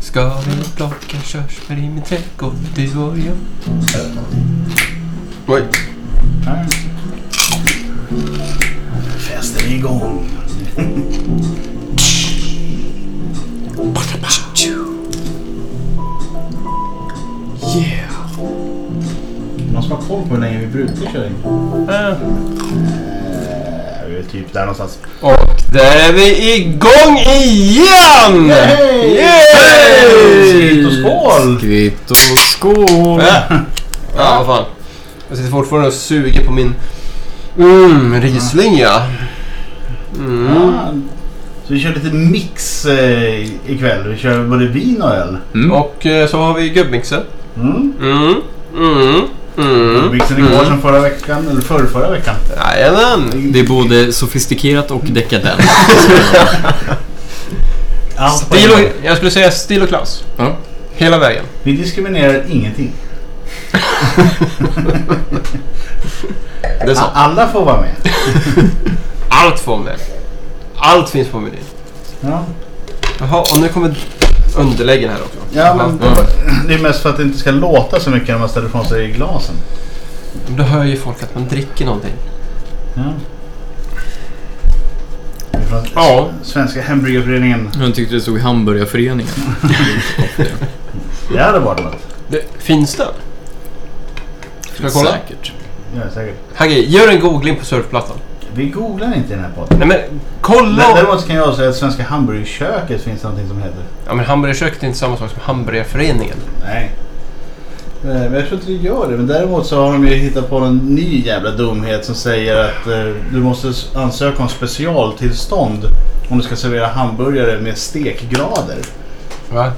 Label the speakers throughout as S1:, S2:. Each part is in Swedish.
S1: Ska vi plocka körsbär i min trädgård, du och jag? Oj.
S2: Festen är igång.
S1: Yeah.
S2: Någon som har koll på hur länge vi brukar köra in?
S1: Ah.
S2: Eh, vi är typ där någonstans.
S1: Och där är vi igång igen!
S2: Yay!
S1: Yay!
S2: Skritt och skål!
S1: Skritt och skål! Ja, vad fan. Jag sitter fortfarande och suger på min mm, Riesling ja. Mm.
S2: Ah, Så vi kör lite mix eh, ikväll. Vi kör både vin och öl.
S3: Mm.
S1: Och eh, så har vi gubbmixen.
S2: Mm.
S1: Mm. Mm. Mm.
S2: Mixen igår som förra veckan, eller förrförra veckan.
S1: Jajamän!
S3: Det är både sofistikerat och dekadent.
S2: Allt på en
S1: Stil
S2: gång.
S1: och, jag skulle säga stil och klass.
S3: Ja.
S1: Hela vägen.
S2: Vi diskriminerar ingenting.
S1: Det är så.
S2: A- Alla får vara med.
S1: Allt får med. Allt finns på menyn.
S2: Ja,
S1: Jaha, och nu kommer underläggen här också.
S2: ja men
S1: Ja.
S2: det, det är mest för att det inte ska låta så mycket när man ställer ifrån sig glasen.
S1: Men Mm. Då hör ju folk att man dricker någonting.
S2: Ja. Det är Från
S1: Ja.
S2: Svenska Hembryggarföreningen.
S3: Jag tyckte det stod hamburgarföreningen.
S2: Det hade varit något.
S1: Det, finns det? Ska jag kolla?
S3: Säkert.
S2: Ja, säkert.
S1: Hagge, gör en googling på surfplattan.
S2: Vi googlar inte i den här podden.
S1: Nej men kolla!
S2: Dä-
S1: om-
S2: Däremot kan jag säga att Svenska Hamburgerköket finns någonting som heter.
S1: Ja men hamburgerköket är inte samma sak som hamburgerföreningen.
S2: Nej. Nej, men jag tror inte det gör det. Men däremot så har de ju hittat på en ny jävla dumhet som säger att eh, du måste s- ansöka om specialtillstånd om du ska servera hamburgare med stekgrader.
S1: Va?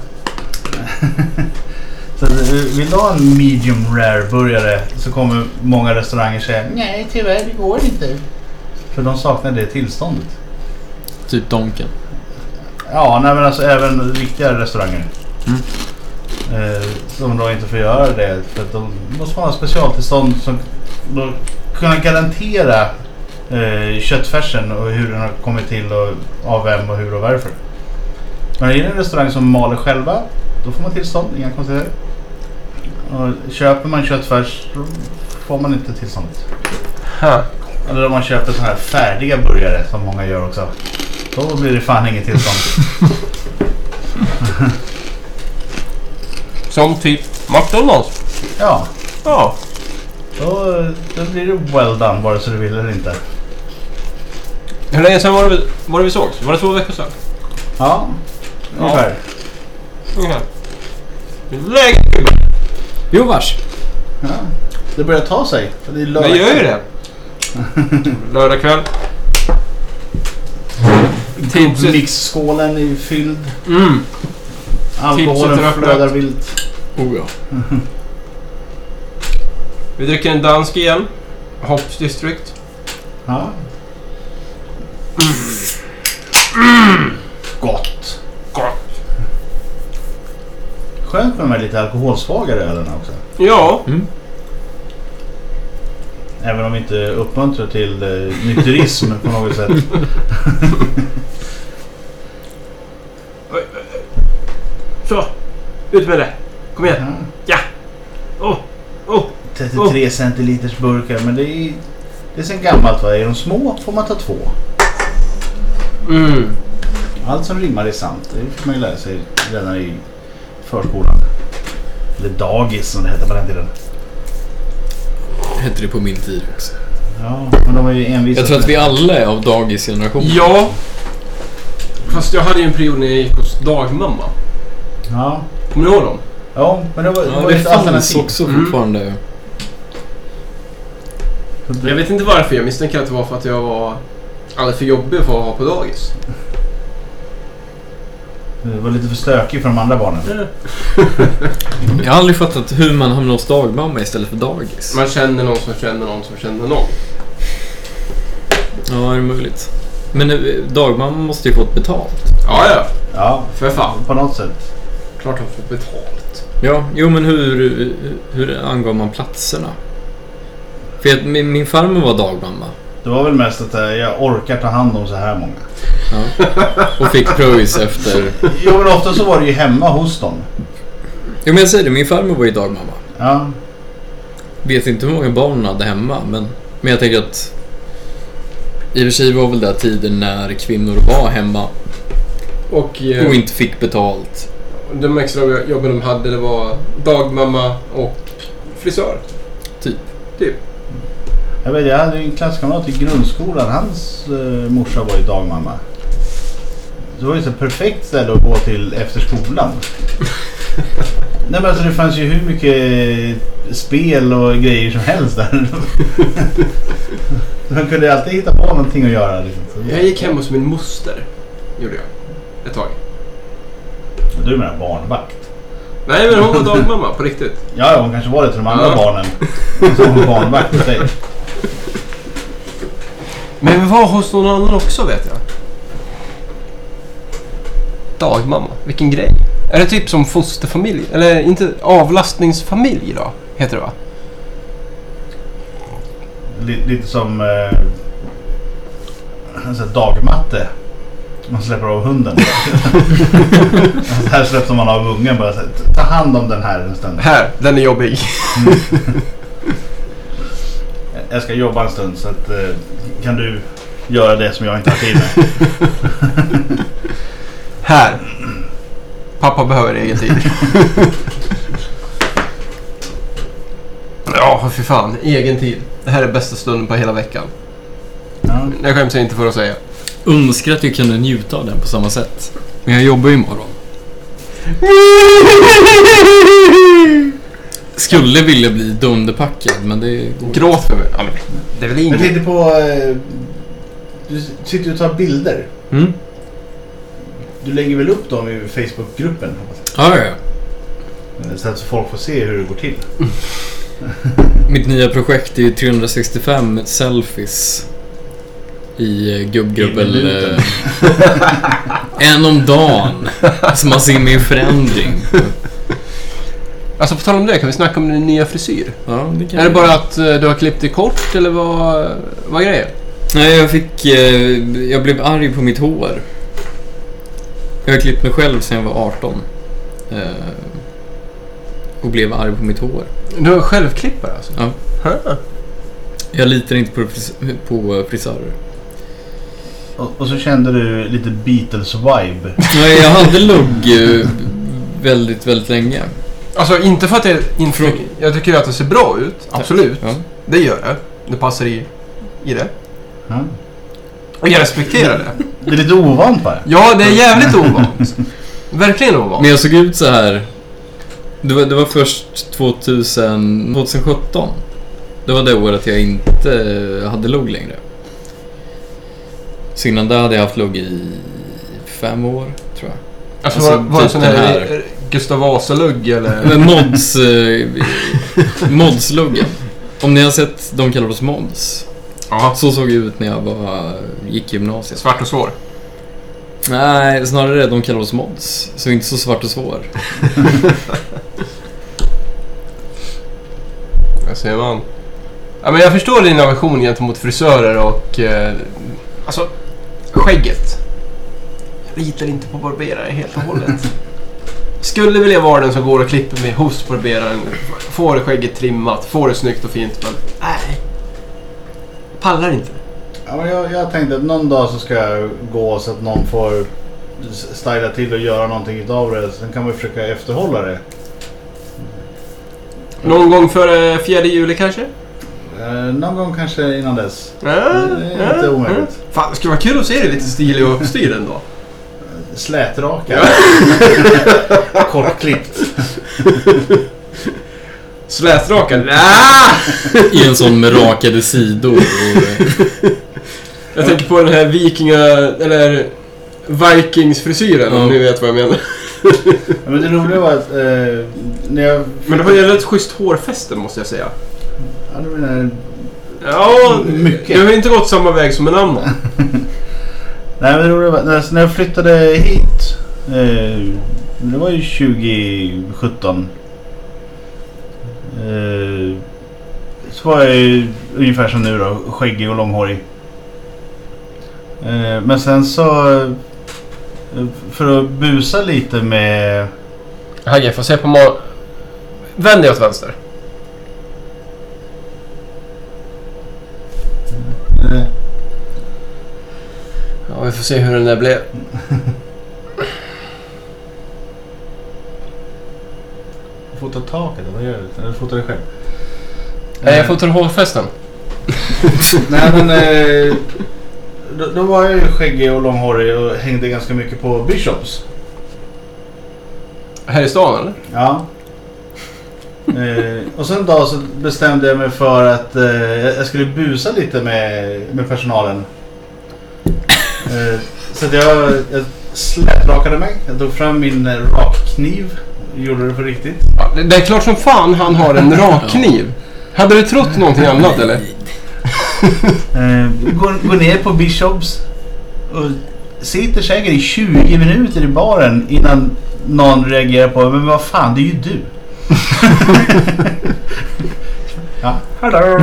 S2: Så att, eh, vill du ha en medium rare burgare så kommer många restauranger säga nej tyvärr det går inte. För de saknar det tillståndet.
S3: Typ Donken.
S2: Ja, nej men alltså även riktiga restauranger.
S3: Mm.
S2: Eh, som då inte får göra det. För att de måste ha specialtillstånd som då kunna garantera eh, köttfärsen och hur den har kommit till och av vem och hur och varför. Men är det en restaurang som maler själva, då får man tillstånd. Inga konstigheter. Och köper man köttfärs, då får man inte tillståndet.
S1: Ha.
S2: Eller om man köper sådana här färdiga burgare som många gör också. Då blir det fan inget tillstånd.
S1: Som typ McDonalds.
S2: Ja,
S1: Ja.
S2: då, då blir det well done vare sig du vill eller inte.
S1: Hur länge sedan var det, vi- var det vi sågs? Var det två veckor sedan?
S2: Ja, ungefär.
S1: Ungefär. Läget gubben!
S3: Jo vars.
S2: Ja. Det börjar ta sig. Det är lördag.
S1: Det gör ju det. Lördag kväll. Tipset.
S2: Mixskålen är fylld.
S1: Mm. Tipset är
S2: Alkoholen
S1: öppet.
S2: flödar vilt.
S3: Oh ja.
S1: Vi dricker en dansk igen. Hops District.
S2: Ja. Gott.
S1: Gott.
S2: Skönt med de här lite alkoholsvagare ölen också.
S1: Ja.
S2: Även om vi inte uppmuntrar till eh, nykterism på något sätt.
S1: Så. Ut med det. Kom igen.
S2: Ja.
S1: Oh. Oh.
S2: 33 centiliters burkar men det är, det är sen gammalt va? Är de små får man ta två.
S1: Mm.
S2: Allt som rimmar är sant. Det fick man ju lära sig redan i förskolan. Eller dagis som det hette på den tiden.
S3: Hette det på min tid också.
S2: Ja, men de var ju envisa.
S3: Jag tror att vi
S2: med-
S3: alla är av dagisgenerationen.
S1: Ja. Fast jag hade ju en period när jag gick hos dagmamma.
S2: Ja.
S1: Kommer du ihåg dem?
S2: ja, men det var, det
S3: Ja,
S2: var
S3: det
S2: ett
S3: fanns
S2: alternativ.
S3: också
S1: Mm.
S3: fortfarande.
S1: Jag vet inte varför. Jag misstänker att det var för att jag var alldeles för jobbig för att ha på dagis.
S2: Det var lite för stökig för de andra barnen.
S3: Jag har aldrig fattat hur man hamnar hos dagmamma istället för dagis.
S1: Man känner någon som känner någon som känner någon.
S3: Ja, det är möjligt. Men eh, dagmamma måste ju fått betalt.
S1: Ja, ja.
S2: Ja,
S1: För fan.
S2: på något sätt.
S1: Klart han får betalt.
S3: Ja, jo men hur, hur angav man platserna? För att min, min farmor var dagmamma.
S2: Det var väl mest att eh, jag orkar ta hand om så här många.
S3: Ja. Och fick pröjs efter...
S2: Jo men ofta så var det ju hemma hos dem.
S3: Jo men jag säger det, min farmor var ju dagmamma.
S2: Ja,
S3: Vet inte hur många barn hon hade hemma men, men jag tänker att... I och för sig var väl det tiden när kvinnor var hemma
S1: Och
S3: och
S1: eh,
S3: inte fick betalt.
S1: de extra jobben de hade det var dagmamma och frisör.
S3: Typ.
S1: Typ.
S2: Jag vet, jag hade ju en klasskamrat i grundskolan. Hans eh, morsa var ju dagmamma. Det var ju ett perfekt ställe att gå till efter skolan. Nej men alltså det fanns ju hur mycket spel och grejer som helst där. Man kunde alltid hitta på någonting att göra. Liksom.
S1: Jag gick hem hos min moster. Gjorde jag. Ett tag.
S2: Du menar barnvakt?
S1: Nej men hon var dagmamma på riktigt.
S2: Ja, ja, hon kanske var det till de andra
S1: Ja.
S2: barnen. Som hon barnvakt åt dig.
S1: Men vi var hos någon annan också vet jag. Dagmamma, vilken grej. Är det typ som fosterfamilj? Eller inte avlastningsfamilj då? Heter det va?
S2: Li- lite som eh, en sån här dagmatte. Man släpper av hunden. Så här släpper man av ungen bara. så här, Ta hand om den här en stund.
S1: Här, den är jobbig.
S2: Jag ska jobba en stund så att, eh, kan du göra det som jag inte har tid med.
S1: Här. Pappa behöver egen tid. Ja, för fan. Egen tid. Det här är bästa stunden på hela veckan.
S2: Ja.
S1: Jag skäms jag inte för att säga.
S3: Önskar att jag kunde njuta av den på samma sätt. Men jag jobbar ju imorgon. Mm. Skulle vilja bli dunderpackad men det går inte.
S1: Gråt för mig. Ja, men Det är väl
S2: Jag
S1: inget.
S2: tänkte på... Eh, du sitter och tar bilder.
S3: Mm.
S2: Du lägger väl upp dem i Facebookgruppen? hoppas
S3: Ja, ja, ja.
S2: jag. Eh, Så att folk får se hur det går till.
S3: Mitt nya projekt är ju 365 selfies i eh,
S2: I
S3: gubbgrubbel. eh,
S2: minuten.
S3: en om dagen. Så man ser min förändring.
S1: Alltså på tal om det, kan vi snacka om din nya frisyr?
S3: Ja, det kan
S1: Är det
S3: jag.
S1: bara att eh, du har klippt det kort eller vad, vad är grejen?
S3: Nej, jag fick... eh, Jag blev arg på mitt hår. Jag har klippt mig själv sedan jag var 18. eh, Och blev arg på mitt hår.
S1: Du har självklippare alltså?
S3: Ja.
S1: Huh.
S3: Jag litar inte på, fris- på frisörer.
S2: Och, och så kände du lite Beatles-vibe.
S3: Nej, jag hade lugg eh, väldigt, väldigt länge.
S1: Alltså inte för att jag inte...
S3: Fråga.
S1: Jag tycker ju att det ser bra ut, absolut.
S3: Ja.
S1: Det gör det. Det passar i, i det.
S2: Ja.
S1: Och jag respekterar det.
S2: Det är lite ovant bara.
S1: Ja, det är jävligt ovant. Verkligen ovant.
S3: Men jag såg ut så här. Det var, det var först 2000, 2017. Det var det året jag inte hade lugg längre. Så innan det hade jag haft lugg i fem år, tror jag.
S1: Alltså,
S3: alltså,
S1: var, var det
S3: typ
S1: sån
S3: den
S1: här,
S3: här.
S1: Gustav Vasalugg eller?
S3: Men mods... Eh, modsluggen. Om ni har sett De kallar oss mods.
S1: Ja.
S3: Så såg jag ut när jag var, gick gymnasiet.
S1: Svart och svår.
S3: Nej, snarare De kallar oss mods. Så inte så svart och svår.
S1: Jag ser man. Ja, men jag förstår din aversion gentemot frisörer och... Eh, alltså, skägget. Jag litar inte på barberare helt och hållet. Skulle vilja vara den som går och klipper mig hos barberaren. Får skägget trimmat, får det snyggt och fint men... Nej. Pallar inte.
S2: Ja, men jag, jag tänkte att någon dag så ska jag gå så att någon får s- styla till och göra någonting utav det. Sen kan man ju försöka efterhålla det.
S1: Någon gång före fjärde juli kanske?
S2: Eh, någon gång kanske innan dess.
S1: Ja,
S2: Det är inte omöjligt.
S1: Fan, det skulle vara kul att se dig lite stilig och uppstyrd ändå.
S2: Slätraka. Kortklippt.
S1: Slätrakad? Ah!
S3: I en sån med rakade sidor. Och, eh,
S1: Jag tänker på den här vikinga... eller... Vikings-frisyren om
S3: Ja.
S1: ni vet vad jag menar.
S2: Ja, Men det roliga var att eh, när jag...
S1: Men det var ju ett rätt schysst hårfäste måste jag säga.
S2: Ja, du menar,
S1: Ja,
S2: Mycket.
S1: det har ju inte gått samma väg som en annan.
S2: nej, men det roliga var att när- när jag flyttade hit. Eh, det var ju 2017. Eh, så var jag ju ungefär som nu då. Skäggig och långhårig. Eh, Men sen så... eh, För att busa lite med...
S1: Hagge, får se på morgonen. Vänd dig åt vänster.
S2: eh,
S1: Ja, vi får se hur den där blev.
S2: Fota taket, vad gör du? Eller fota dig själv?
S1: Nej, jag
S2: Eh,
S1: fotar hårfästen.
S2: Nej men... eh, Då, då var jag ju skäggig och långhårig och hängde ganska mycket på Bishops.
S1: Här i stan eller?
S2: Ja. Eh, och sen en dag så bestämde jag mig för att eh, jag jag skulle busa lite med, med personalen. Eh, så att jag, jag slätrakade mig. Jag tog fram min eh, rakkniv. Gjorde det på riktigt.
S1: Ja, det- det är klart som fan han har en rak kniv. Hade du trott någonting annat eller?
S2: Eh, går, går ner på Bishops. Och sitter säkert i 20 minuter i baren innan någon reagerar på Men vad fan, det är ju du. ja, hallå.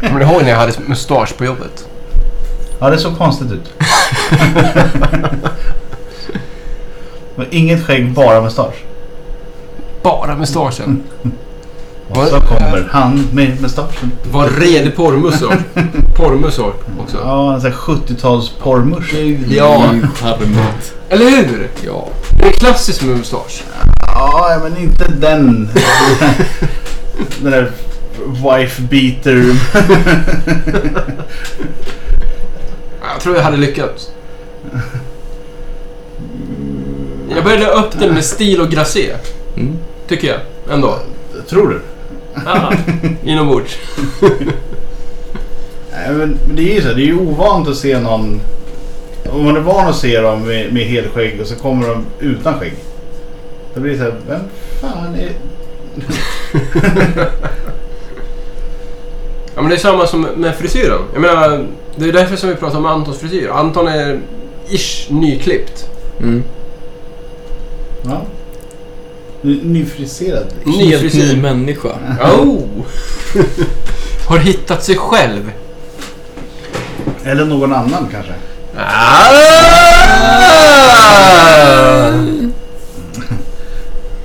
S1: Men det har ju när jag hade mustasch på jobbet.
S2: Ja, det såg konstigt ut. Men inget skägg, bara mustasch.
S1: Bara mustaschen.
S2: Och så kommer han med mustaschen.
S1: Var redig porrmussor. Porrmussor också.
S2: Ja, en sån här 70-tals porrmusch.
S1: Ja.
S3: I tarmet.
S1: Eller hur?
S3: Ja.
S1: Det är klassiskt med mustasch.
S2: Ja, men inte den. den där wife beater.
S1: Jag tror jag hade lyckats. Jag började upp den med stil och gracé.
S3: Mm.
S1: Tycker jag. Ändå.
S2: Tror du?
S1: Ah, inombords.
S2: Nej, men men det är ju så. här, Det är ju ovant att se någon. Om man är van att se dem med, med helskägg och så kommer de utan skägg. Då blir det så här, vem fan är...
S1: Ja, men det är samma som med frisyren. Jag menar, det är därför som vi pratar om Antons frisyr. Anton är ish nyklippt.
S3: Mm.
S2: Ja. Ny- Nyfriserad.
S1: Ny
S3: Helt ny
S1: frisyr.
S3: människa.
S1: Oh! Har hittat sig själv.
S2: Eller någon annan kanske.
S1: Ah!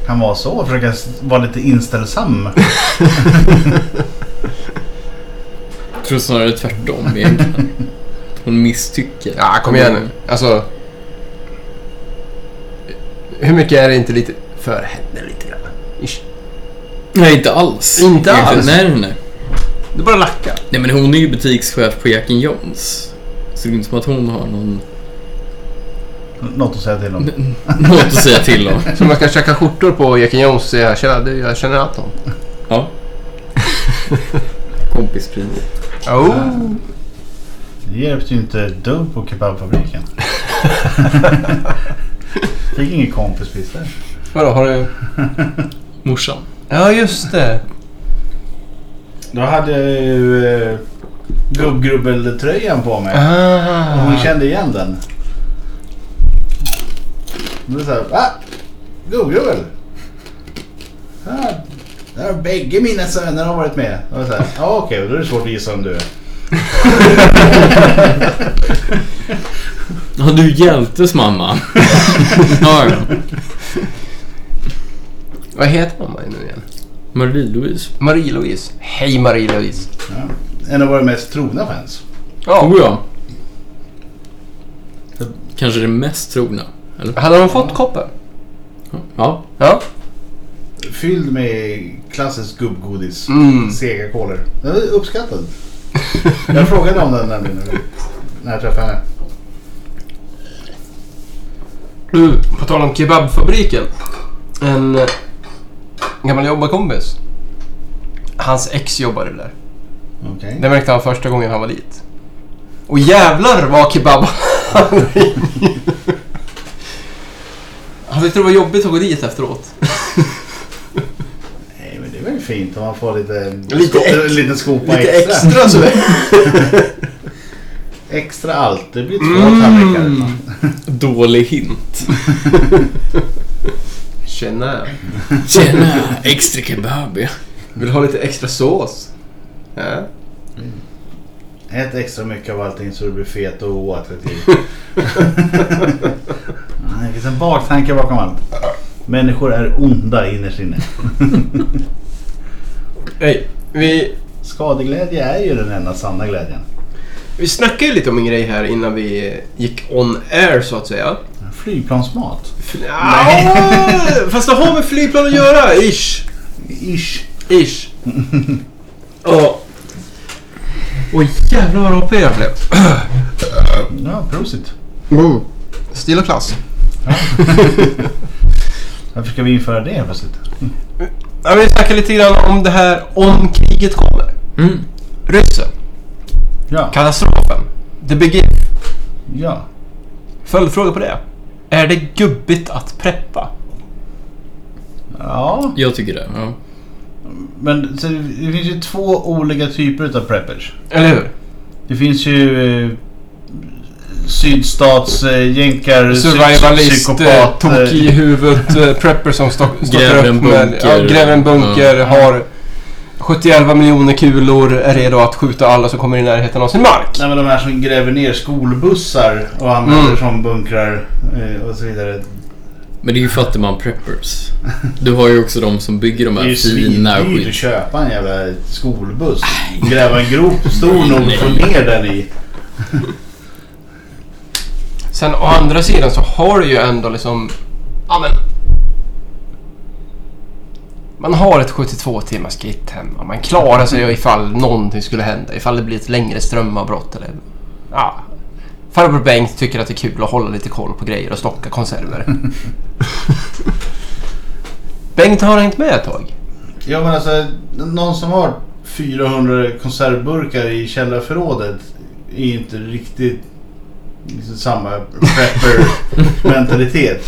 S2: Kan vara så. Försöka s- vara lite inställsam.
S3: Jag tror snarare tvärtom egentligen. Hon misstycker.
S1: Ja, Ah, kom igen nu. Alltså... Hur mycket är det inte lite för henne lite grann? Ish.
S3: Nej, inte alls.
S1: Inte alls?
S3: Nej, nej, nej.
S1: Det är bara lacka.
S3: Nej men hon är ju butikschef på Jack Johns. Så det är inte som att hon har någon,
S2: Något att säga till om.
S3: n- något att säga till om.
S1: Som man kan käka skjortor på Jack Jones och säga "Tjena, du, jag känner Anton.
S3: Ja. Kompispris.
S1: Oh.
S2: Det hjälpte ju inte ett dugg på kebabfabriken. Fick ingen kompispris där.
S1: Vadå, har du...
S3: Morsan.
S1: Ja, just det.
S2: Då hade jag ju eh, gubbgrubbeltröjan på mig. Och
S1: Ah.
S2: hon kände igen den. Då sa jag, va? Gubbgubbel? Ah, där har bägge mina söner har varit med. Och jag sa, ja okej, då är det svårt att gissa om du är.
S3: Ja, du hjälptes mamma. ja, ja.
S1: Vad heter mamma nu igen?
S3: Marie-Louise.
S1: Marie-Louise. Hej Marie-Louise.
S2: Ja. En av våra mest trogna fans.
S1: Ja.
S3: Oh ja. Kanske det mest trogna. Eller?
S1: Hade hon fått koppen?
S3: Ja.
S1: Ja.
S2: Fylld med klassisk gubbgodis.
S1: Mm.
S2: Sega kolor. Den var uppskattad. Jag frågade om den nämligen när jag träffade henne.
S1: Du, på tal om kebabfabriken. En eh, gammal jobbarkompis. Hans ex jobbade där.
S2: Okej.
S1: Det märkte han första gången han var dit. Och jävlar vad kebab han i. Han tyckte det var jobbigt att gå dit efteråt.
S2: Nej men det är väl fint om man får lite...
S1: Lite ex-
S2: en liten skopa
S1: Lite
S2: extra.
S1: extra sådär.
S2: Extra allt. Det blir två
S1: Mm.
S2: tallrikar.
S3: Dålig hint.
S1: Tjena.
S3: Tjena, extra kebab ja.
S1: Vill du ha lite extra sås? Ja.
S2: Ät extra mycket av allting så du blir fet och oattraktiv. Nej, Det finns en baktanke bakom allt. Människor är onda innerst inne.
S1: Nej, vi,
S2: Skadeglädje är ju den enda sanna glädjen.
S1: vi snackade ju lite om en grej här innan vi eh, gick on air så att säga.
S2: Flygplansmat.
S1: Fl- Ah, Fast det har med flygplan att göra, ish.
S2: Ish.
S1: Ish. Ja. Och jävlar vad rapig jag blev.
S2: Ja, prosit.
S1: Mm. Stil och klass.
S2: Varför ska vi införa det helt plötsligt?
S1: Ja, vi snackade lite grann om det här om kriget kommer.
S3: Mm.
S1: Ryssen.
S2: Ja.
S1: Katastrofen. The big if.
S2: Ja.
S1: Följdfråga på det. Är det gubbigt att preppa?
S2: Ja.
S3: Jag tycker det. Ja.
S2: Men så det det finns ju två olika typer utav preppers.
S1: Eller hur?
S2: Det finns ju eh, sydstatsjänkar,
S1: Survivalist, eh, tok i huvudet, eh, prepper som stock- stoppar
S3: Gräver en
S1: upp med... Ja,
S3: bunker.
S1: gräver en bunker,
S3: Ja.
S1: har 71 miljoner kulor, är redo att skjuta alla som kommer i närheten av sin mark.
S2: Nej men de här som gräver ner skolbussar och använder
S1: Mm.
S2: som bunkrar eh, och så vidare.
S3: Men det är ju fattigman preppers. Du har ju också de som bygger de
S2: Det är
S3: här
S2: ju
S3: fina
S2: svindyrt att
S3: skit.
S2: köpa en jävla skolbuss. Gräva en grop stor nog och få
S3: Nej.
S2: ner den i.
S1: Sen å andra sidan så har du ju ändå liksom... Ja men... Man har ett 72 timmars kit hemma. Man klarar sig ifall någonting skulle hända. Ifall det blir ett längre strömavbrott eller... Ja. Farbror Bengt tycker att det är kul att hålla lite koll på grejer och stocka konserver. Bengt har hängt med ett tag.
S2: Ja men alltså, någon som har 400 konservburkar i källarförrådet är inte riktigt liksom samma prepper-mentalitet.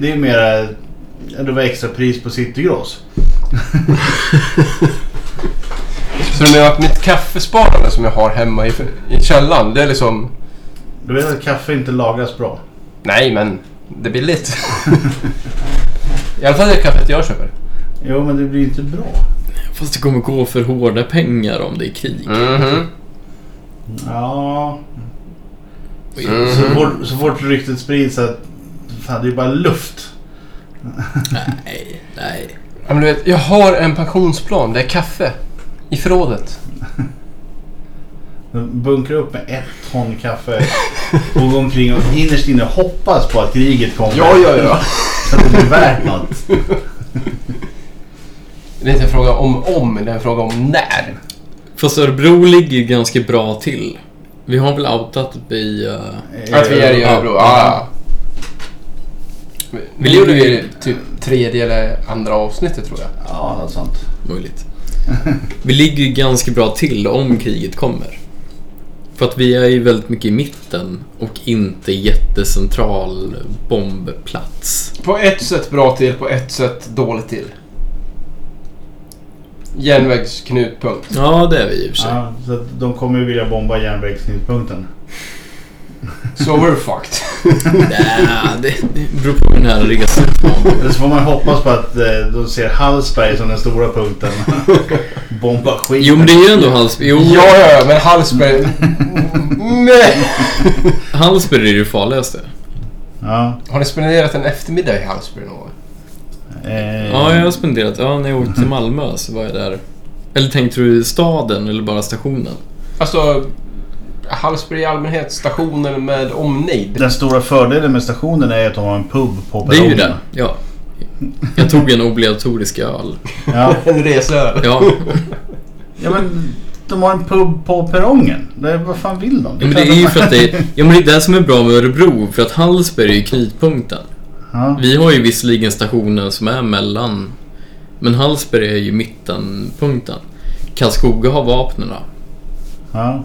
S2: Det är mera, ja, det var extra pris på Citygross.
S1: Så du menar att mitt kaffesparande som jag har hemma i, i källaren, det är liksom...
S2: Du vet att kaffe inte lagras bra.
S1: Nej men, det är billigt. I alla fall det kaffet jag köper.
S2: Jo men det blir inte bra.
S3: Fast det kommer gå för hårda pengar om det är krig.
S2: Mm.
S1: Mhm.
S2: Ja,
S1: Mm.
S2: så, fort, så fort ryktet sprids att fan, det är bara luft.
S3: Nej, nej.
S1: Ja, men du vet, jag har en pensionsplan. Det är kaffe. I förrådet.
S2: De bunkrar upp med ett ton kaffe och går omkring och innerst inne hoppas på att kriget kommer.
S1: ja.
S2: Så att det blir värt något.
S1: Det är inte en fråga om om, det är en fråga om när.
S3: Fast Örebro ligger ju ganska bra till. Vi har väl outat att vi... eh,
S1: Att vi är i
S3: Ja.
S1: Örebro. Ja. Vi
S3: Vi
S1: gjorde
S3: gjorde
S1: ju typ tredje eller andra avsnittet tror jag.
S2: Ja, något sånt.
S3: Möjligt. Vi ligger ju ganska bra till om kriget kommer. För att vi är ju väldigt mycket i mitten och inte jättecentral bombplats.
S1: På ett sätt bra till, på ett sätt dåligt till. Järnvägsknutpunkt.
S3: Ja, det är vi i och för sig.
S2: Ja, så att de kommer ju vilja bomba järnvägsknutpunkten.
S1: So we're fucked.
S3: Nej, det, det beror på hur den här resan går.
S2: Eller så får man hoppas på att eh, de ser Hallsberg som den stora punkten. bomba skiten.
S3: Jo, men det är ju ändå Hallsberg. Jo,
S1: ja, ja, ja, men Hallsberg... Nej!
S3: Hallsberg är ju det farligaste.
S2: Ja,
S1: Har ni spenderat en eftermiddag i Hallsberg någon gång?
S2: eh,
S3: Ja, jag har spenderat... Ja, när jag åkte till Malmö så var jag där. Eller tänkte du staden eller bara stationen?
S1: Alltså, Hallsberg i allmänhet, stationen med omnejd.
S2: Den stora fördelen med stationen är att de har en pub på
S3: Det är ju
S2: perrongen.
S3: det. Ja. Jag tog en obligatorisk öl.
S2: Ja.
S1: En resöl.
S3: Ja,
S2: ja, men de har en pub på perrongen. Det, vad fan vill de?
S3: Ja, men det är ju för att det är, ja, men det är det som är bra med Örebro, för att Hallsberg är ju knutpunkten.
S2: Ja.
S3: Vi har ju visserligen stationen som är mellan, men Hallsberg är ju mittenpunkten. Karlskoga har vapnen.
S2: Ja.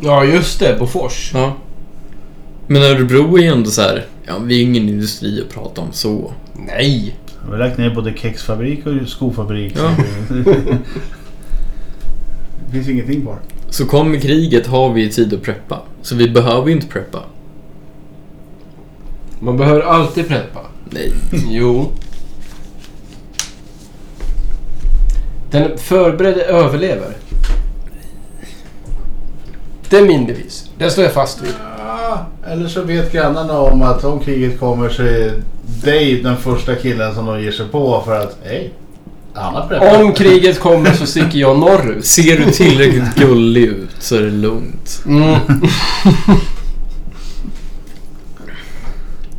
S1: Ja, just det. Bofors.
S3: Ja. Men Örebro är ju ändå så här, ja, vi är ingen industri att prata om så.
S1: Nej.
S2: Vi har lagt ner både kexfabrik och skofabrik.
S3: Ja.
S2: det finns ingenting kvar.
S3: Så kommer kriget har vi ju tid att preppa, så vi behöver ju inte preppa.
S1: Man behöver alltid preppa.
S3: Nej.
S1: Jo. Den förberedde överlever. inte min devis. Den står jag fast vid.
S2: Ja, Ah, eller så vet grannarna om att om kriget kommer så är Dave den första killen som de ger sig på för att hej, han har preppat.
S1: Om kriget kommer så sticker jag norrut.
S3: Ser du tillräckligt gullig ut så är det lugnt.
S1: Mm.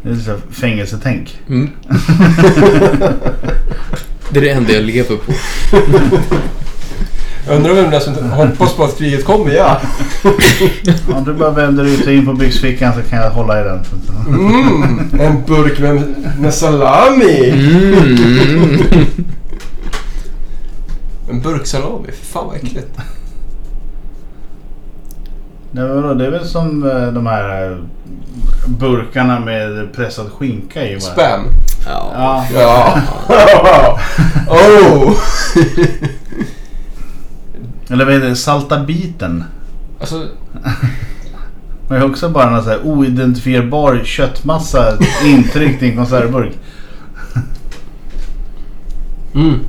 S2: Det är så här fängelsetänk.
S3: Mm. Det är det enda jag lever på.
S1: Jag undrar vem det är som hoppas på att kriget kommer, ja.
S2: Om du bara vänder ut och in på byxfickan så kan jag hålla i den.
S1: Mm, en burk med, med salami.
S3: Mm.
S1: En burk salami? Fy Fan vad äckligt.
S2: Det är väl, det är väl som eh, de här eh, burkarna med pressad skinka i. va?
S1: Spam.
S3: Ja.
S2: Ja.
S1: Ja. oh.
S2: Eller vad heter det? Salta biten.
S1: Alltså,
S2: Det är också bara någon så här oidentifierbar köttmassa intryckt i en konservburk.
S1: mm.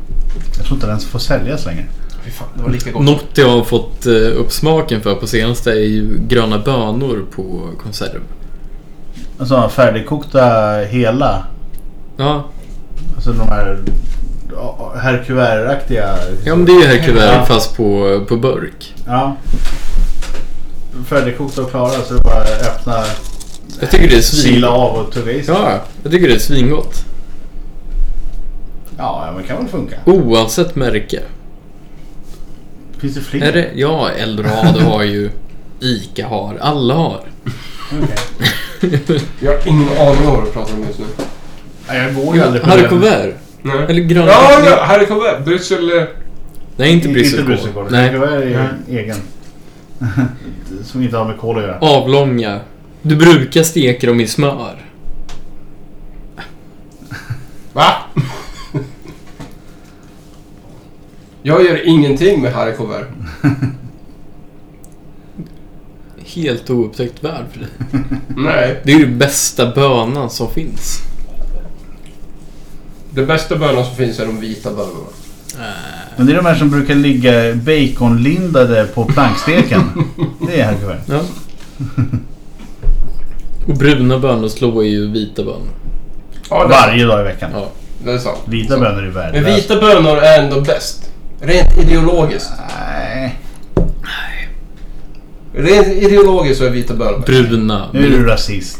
S2: Jag tror inte den får säljas längre.
S1: Fy fan, det var lika gott.
S3: Något jag har fått eh, upp smaken för på senaste är ju gröna bönor på konserv.
S2: Alltså färdigkokta hela.
S3: Ja,
S2: Alltså de här ja, herkuveraktiga.
S3: ja men det är ju här kuvert fast på, på burk.
S2: Ja. Färdigkokta och klara så det är bara att öppna,
S3: Jag tycker det är svin...
S2: sila av och tugga i sig.
S3: Ja, jag tycker det är svingott.
S2: Ja, ja, men kan väl funka.
S3: Oavsett märke.
S2: Finns det fler?
S3: Mm. Är det? Ja, Eldorado har ju. Ica har. Alla har.
S2: Okej.
S1: Jag har ingen aning om vad du pratar om just nu.
S2: Ja, jag går ju aldrig på
S3: Harry
S2: den.
S3: Kuvert.
S1: Nej.
S3: Eller gröna
S1: Ja,
S3: bönor.
S1: ja, Harry Covert. Bryssel... eh,
S3: Nej, inte
S2: I- Inte
S3: brysselkål.
S2: brysselkål.
S3: Nej,
S2: Harry Kuvert är
S1: Nej.
S2: egen. Som inte har med kål att göra.
S3: avlånga. Du brukar steka dem i smör.
S1: Va? Jag gör ingenting med Harry Covert.
S3: Helt oupptäckt värld för dig.
S1: Nej.
S3: Det är ju den bästa bönan som finns.
S1: De bästa bönorna som finns är de vita bönorna.
S2: Men det är de här som brukar ligga baconlindade på planksteken. det är Harry Kuvert.
S3: Ja. Och bruna bönor slår ju vita bönor.
S1: Ja, det,
S2: Varje dag i veckan.
S3: Ja.
S1: det är sant.
S2: Vita
S1: Så.
S2: bönor är
S1: Men
S2: värdelösa.
S1: vita bönor är ändå bäst. Rent ideologiskt.
S2: Nej.
S1: Rent ideologiskt så är vita bönor bäst.
S3: Bruna.
S2: Nu är du rasist.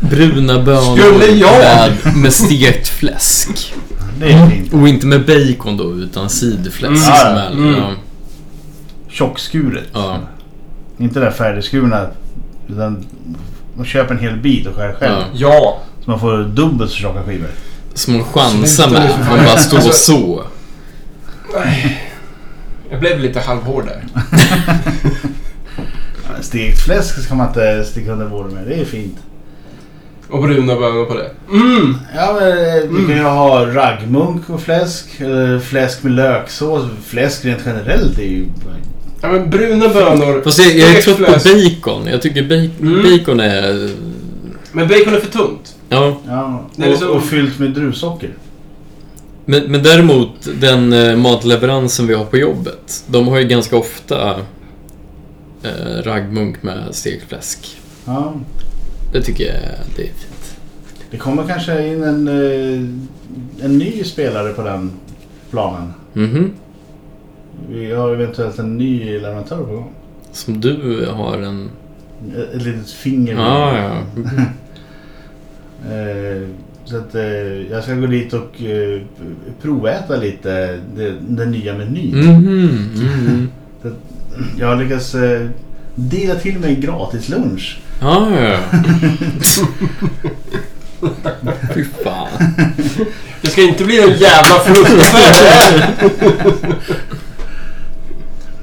S3: Bruna bönor
S1: Skulle jag?
S3: Med, med stekt fläsk.
S2: Det är fint.
S3: Och inte med bacon då, utan sidfläsk.
S2: Mm.
S3: som är-
S1: Mm.
S3: Ja.
S2: Tjockskuret.
S3: Ja.
S2: Inte det där färdigskurna. Utan man köper en hel bit och skär själv.
S3: Ja.
S1: Ja.
S2: Så man får dubbelt så tjocka skivor.
S3: Som hon chansar
S1: Sluta nu
S3: med.
S1: för fan.
S3: Hon bara står
S1: Alltså-
S3: så.
S1: Jag blev lite halvhård där.
S2: Stekt fläsk ska man inte sticka under bordet med. Det är fint.
S1: Och bruna bönor på det. Mm!
S2: Ja, men eh, du kan ju ha raggmunk och fläsk. eh, Fläsk med löksås. Fläsk rent generellt är ju...
S1: Ja men bruna bönor.
S3: Fast jag, jag är trött på
S1: stekfläsk.
S3: bacon. Jag tycker bacon,
S1: Mm.
S3: bacon är...
S1: Men bacon är för tunt.
S3: Ja.
S2: Ja,
S1: Det är
S2: och,
S1: liksom-
S2: och fyllt med druvsocker.
S3: Men, men däremot den eh, matleveransen vi har på jobbet. De har ju ganska ofta eh, raggmunk med stekt fläsk.
S2: Ja.
S3: Det tycker jag det är fint.
S2: Det kommer kanske in en, eh, en ny spelare på den planen.
S3: Mhm.
S2: Vi har eventuellt en ny leverantör på gång. Eh,
S3: Som du har en...
S2: Ett ett litet finger.
S3: Ja, ja. Mhm.
S2: Eh, Så att eh, jag ska gå dit och eh, proväta lite det, den nya menyn.
S3: Mhm. mhm.
S2: Jag har lyckats eh, dela till mig en gratis lunch.
S3: Ja, ja. Fy fan.
S1: Det ska inte bli någon jävla frustaffär det här.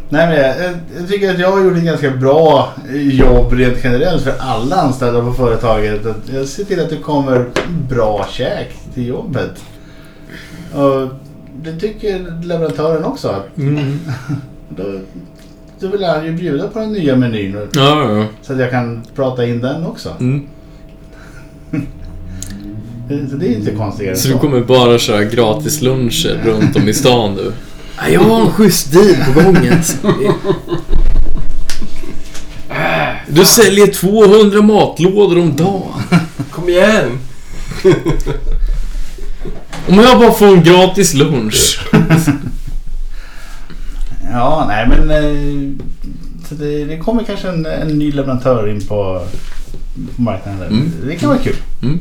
S2: Nej men jag, jag- jag tycker att jag har gjort ett ganska bra jobb rent generellt för alla anställda på företaget. Att Jag ser till att det kommer bra käk till jobbet. Och det tycker leverantören också. Att
S3: Mm.
S2: Då, då vill han ju bjuda på den nya menyn och-
S3: Ja, ja.
S2: så att jag kan prata in den också.
S3: Mm.
S2: Så det är inte konstigare än
S3: Så du kommer bara köra gratis luncher runt om i stan nu? Ja, Jag har en schysst deal på gång alltså. Du säljer 200 matlådor om dagen.
S1: Kom igen!
S3: Om jag bara får en gratis lunch.
S2: Ja, nej men eh, så det, det kommer kanske en, en ny leverantör in på, på marknaden. Där.
S3: Mm.
S2: Det kan vara kul.
S3: Mm.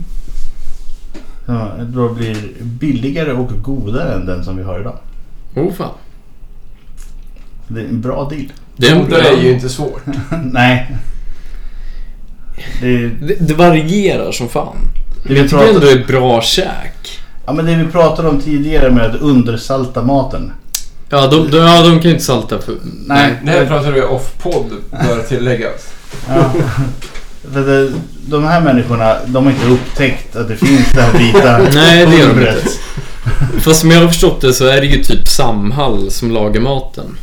S2: Ja, då blir det billigare och godare än den som vi har idag.
S3: Åh Oh, fan.
S2: Det är en bra deal.
S3: Den,
S1: Det är ju inte svårt.
S2: nej. Det,
S3: det, det varierar som fan.
S2: det, vi
S3: Jag tycker ändå
S2: pratar,
S3: det är bra käk.
S2: ja, men det vi pratade om tidigare med att undersalta maten.
S3: Ja, de, de, ja, de kan ju inte salta för...
S2: Nej,
S1: Det här pratar vi off-podd, bör tilläggas.
S2: Ja. För det, de här människorna, de har inte upptäckt att det finns det här vita
S3: Nej, det gör de
S2: pulvret.
S3: inte. Fast som jag har förstått det så är det ju typ Samhall som lagar maten.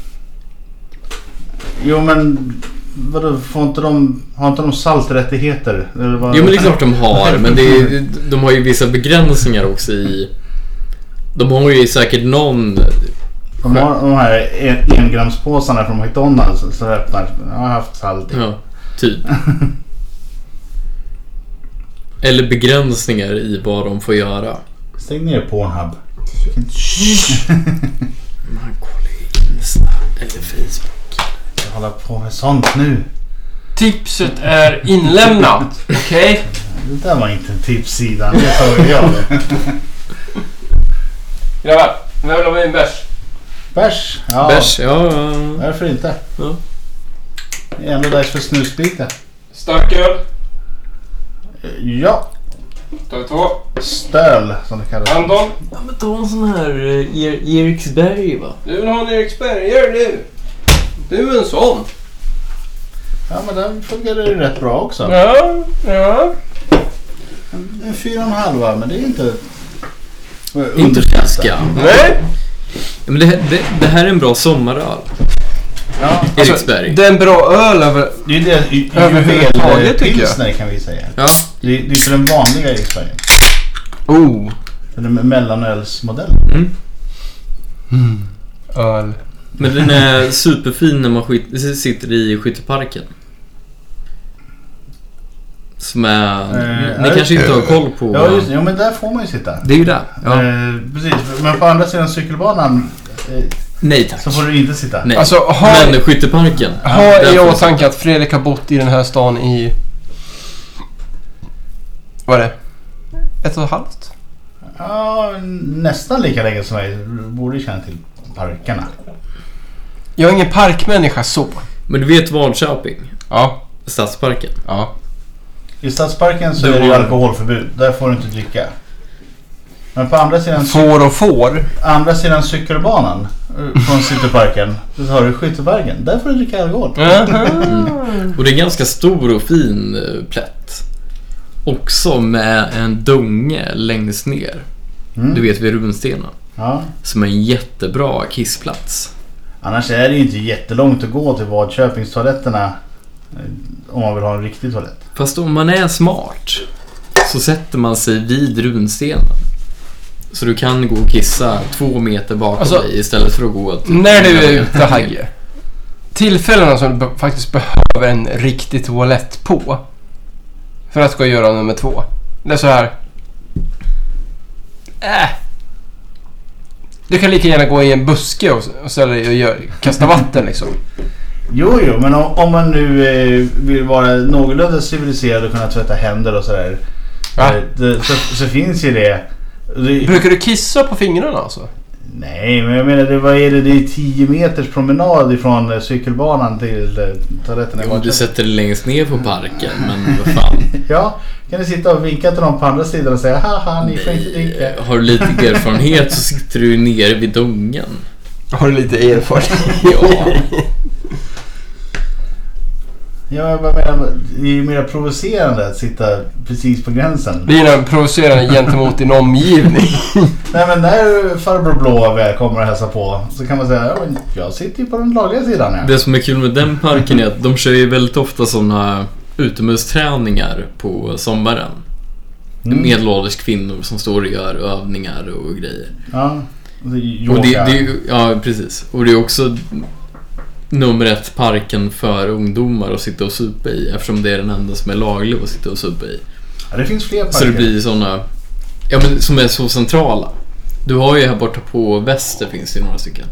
S2: Jo men, vadå, får inte de, har inte de salträttigheter? Eller vad?
S3: Jo men det är klart de har, men det är, de har ju vissa begränsningar också i... De har ju säkert någon...
S2: De har de här en- engramspåsarna från McDonalds som öppnar. Jag har haft salt i.
S3: Ja, typ. Eller begränsningar i vad de får göra.
S2: Stäng ner Pornhub.
S3: Man kollar ju Insta eller Facebook.
S2: Jag håller på med sånt nu.
S1: Tipset är inlämnat. Okej?
S2: Det där var inte en tipssida. Det såg jag.
S1: Grabbar, vem vill ha med en bärs?
S2: Bärs. Ja,
S3: Bärs, ja. ja.
S2: Varför inte?
S3: Ja.
S2: Det är ändå dags för snusbita.
S1: Starköl.
S2: Ja.
S1: Tar vi två.
S2: Stöl som det kallas.
S1: Anton,
S3: ja men ta en sån här eh, Eriksberg va?
S1: du vill ha en Eriksberg. Gör det nu. Du är en sån.
S2: Ja men den fungerar ju rätt bra också.
S1: Ja, ja.
S2: En fyra och en halva men det är inte...
S3: Inte flaska.
S1: Nej.
S3: Men det, det, det här är en bra sommaröl.
S2: Ja.
S1: Alltså,
S2: alltså,
S3: Eriksberg.
S1: det är en bra öl över...
S2: Det är ju det ju-
S1: Överhuvudtaget, tycker jag.
S2: juvelpilsner kan vi säga.
S3: Ja.
S2: Det är, det är ju den vanliga i Sverige.
S1: Oh.
S2: Den är mellanölsmodellen.
S3: Mm.
S1: Öl.
S3: Men den är superfin när man skit, sitter i skytteparken. Som är...
S2: Eh,
S3: ni
S2: ja,
S3: kanske inte har koll på...
S2: Ja just det. Jo men där får man ju sitta.
S3: Det är ju det. Ja.
S2: Eh, precis, men på andra sidan cykelbanan eh,
S3: Nej tack.
S2: så får du inte sitta.
S3: Nej.
S1: Alltså, ha,
S3: Men skytteparken.
S1: ha i
S3: Därför-
S1: åtanke att Fredrik har bott i den här stan i... Vad är det? Ett och ett halvt?
S2: Ja, nästan lika länge som jag. Du borde ju känna till parkerna.
S1: Jag är ingen parkmänniska så.
S3: Men du vet Vadköping?
S1: Ja.
S3: Stadsparken.
S1: Ja.
S2: I Stadsparken så
S3: Du
S2: är det ju
S3: har-
S2: alkoholförbud. Där får du inte dricka. Men på andra sidan,
S1: Får och får.
S2: andra sidan cykelbanan eh, från Cityparken, så har du Skytteparken. Där får du dricka alkohol.
S3: Och det är en ganska stor och fin eh, plätt. Också med en dunge längst ner.
S2: Mm.
S3: Du vet vid runstenen.
S2: Ja.
S3: Som är en jättebra kissplats.
S2: Annars är det ju inte jättelångt att gå till Vadköpingstoaletterna eh, om man vill ha en riktig toalett.
S3: Fast om man är smart så sätter man sig vid runstenen. Så du kan gå och kissa två meter bakom
S1: Alltså,
S3: dig istället för att gå till
S1: När du är ute Hagge. Tillfällena som du be- faktiskt behöver en riktig toalett på. För att gå och göra nummer två. Det är så här. Äh. Du kan lika gärna gå i en buske och, och ställa dig och gör, kasta vatten liksom.
S2: Jo, jo, men om, om man nu eh, vill vara någorlunda civiliserad och kunna tvätta händer och sådär.
S1: Va?
S2: eh, det- Så, så finns ju det. det
S1: Brukar du kissa på fingrarna alltså?
S2: Nej, men jag menar det, vad är det? Det är 10 meters promenad ifrån eh, cykelbanan till eh, toaletten. i
S3: Jo, du
S2: Vadköping.
S3: sätter dig längst ner på parken, men vad fan.
S2: Ja, kan ni sitta och vinka till dem på andra sidan och säga haha, ni får inte dricka.
S3: Har du lite erfarenhet så sitter du ju nere vid dungen.
S1: Har du lite erfarenhet?
S3: Ja.
S2: Ja, jag bara menar, det är ju mer provocerande att sitta precis på gränsen.
S1: Det är ju provocerande gentemot din omgivning.
S2: Nej men när farbror blå väl kommer och hälsar på så kan man säga ja, men jag sitter ju på den lagliga sidan här.
S3: Det som är kul med den parken är att de kör ju väldigt ofta sådana utomhusträningar på sommaren.
S2: Mm.
S3: Medelålders kvinnor som står och gör övningar och grejer.
S2: Ja. Och det är
S3: Och det,
S2: yoga.
S3: det är ju, ja, precis. Och det är också nummer ett parken för ungdomar att sitta och supa i eftersom det är den enda som är laglig att sitta och supa i.
S2: Ja, det finns fler parker.
S3: Så det blir sådana, ja men som är så centrala. Du har ju här borta på väster finns det ju några stycken.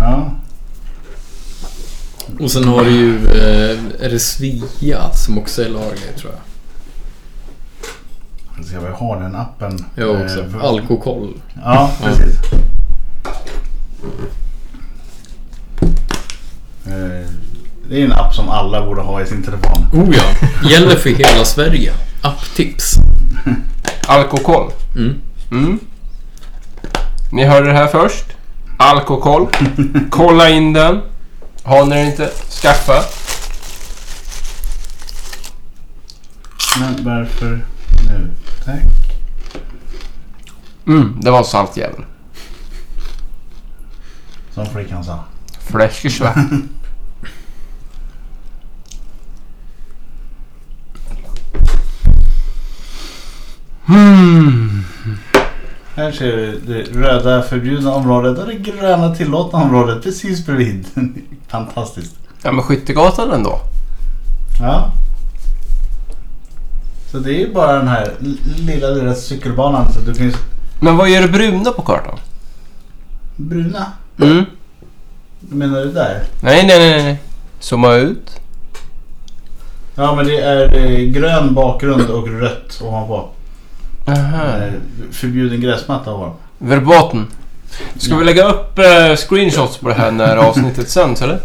S2: Ja.
S3: Och sen har du ju, eh, är det Svea som också är laglig tror jag.
S2: Jag ska se vad jag har den appen.
S3: Jag också.
S2: Eh, för-
S3: Alkokoll.
S2: Ja,
S3: Ja.
S2: precis. Eh, Det är en app som alla borde ha i sin telefon.
S3: Oh ja. Gäller för hela Sverige. Apptips.
S1: Alkokoll.
S3: Mm.
S1: Mm. Ni hörde det här först. Alkokoll. Kolla in den. Har ni den inte, skaffa.
S2: Men varför nu? Tack.
S1: Mm, det var saltjävel.
S2: Som flickan sa.
S1: Fläskesvart. Hmm.
S2: Här ser du det röda förbjudna området och det gröna tillåtna området precis bredvid. Fantastiskt.
S1: Ja men Skyttegatan ändå.
S2: Ja. Så det är ju bara den här l- lilla, lilla cykelbanan. Så du finns
S1: Men vad gör det bruna på kartan?
S2: bruna.
S1: Mm.
S2: Menar du där?
S1: Nej, nej, nej, nej. Zooma ut.
S2: Ja men det är eh, grön bakgrund och rött ovanpå.
S1: Aha.
S2: Eh, förbjuden gräsmatta ovanpå.
S1: Verbaten. Ska vi lägga upp eh, screenshots på det här när avsnittet sänds eller?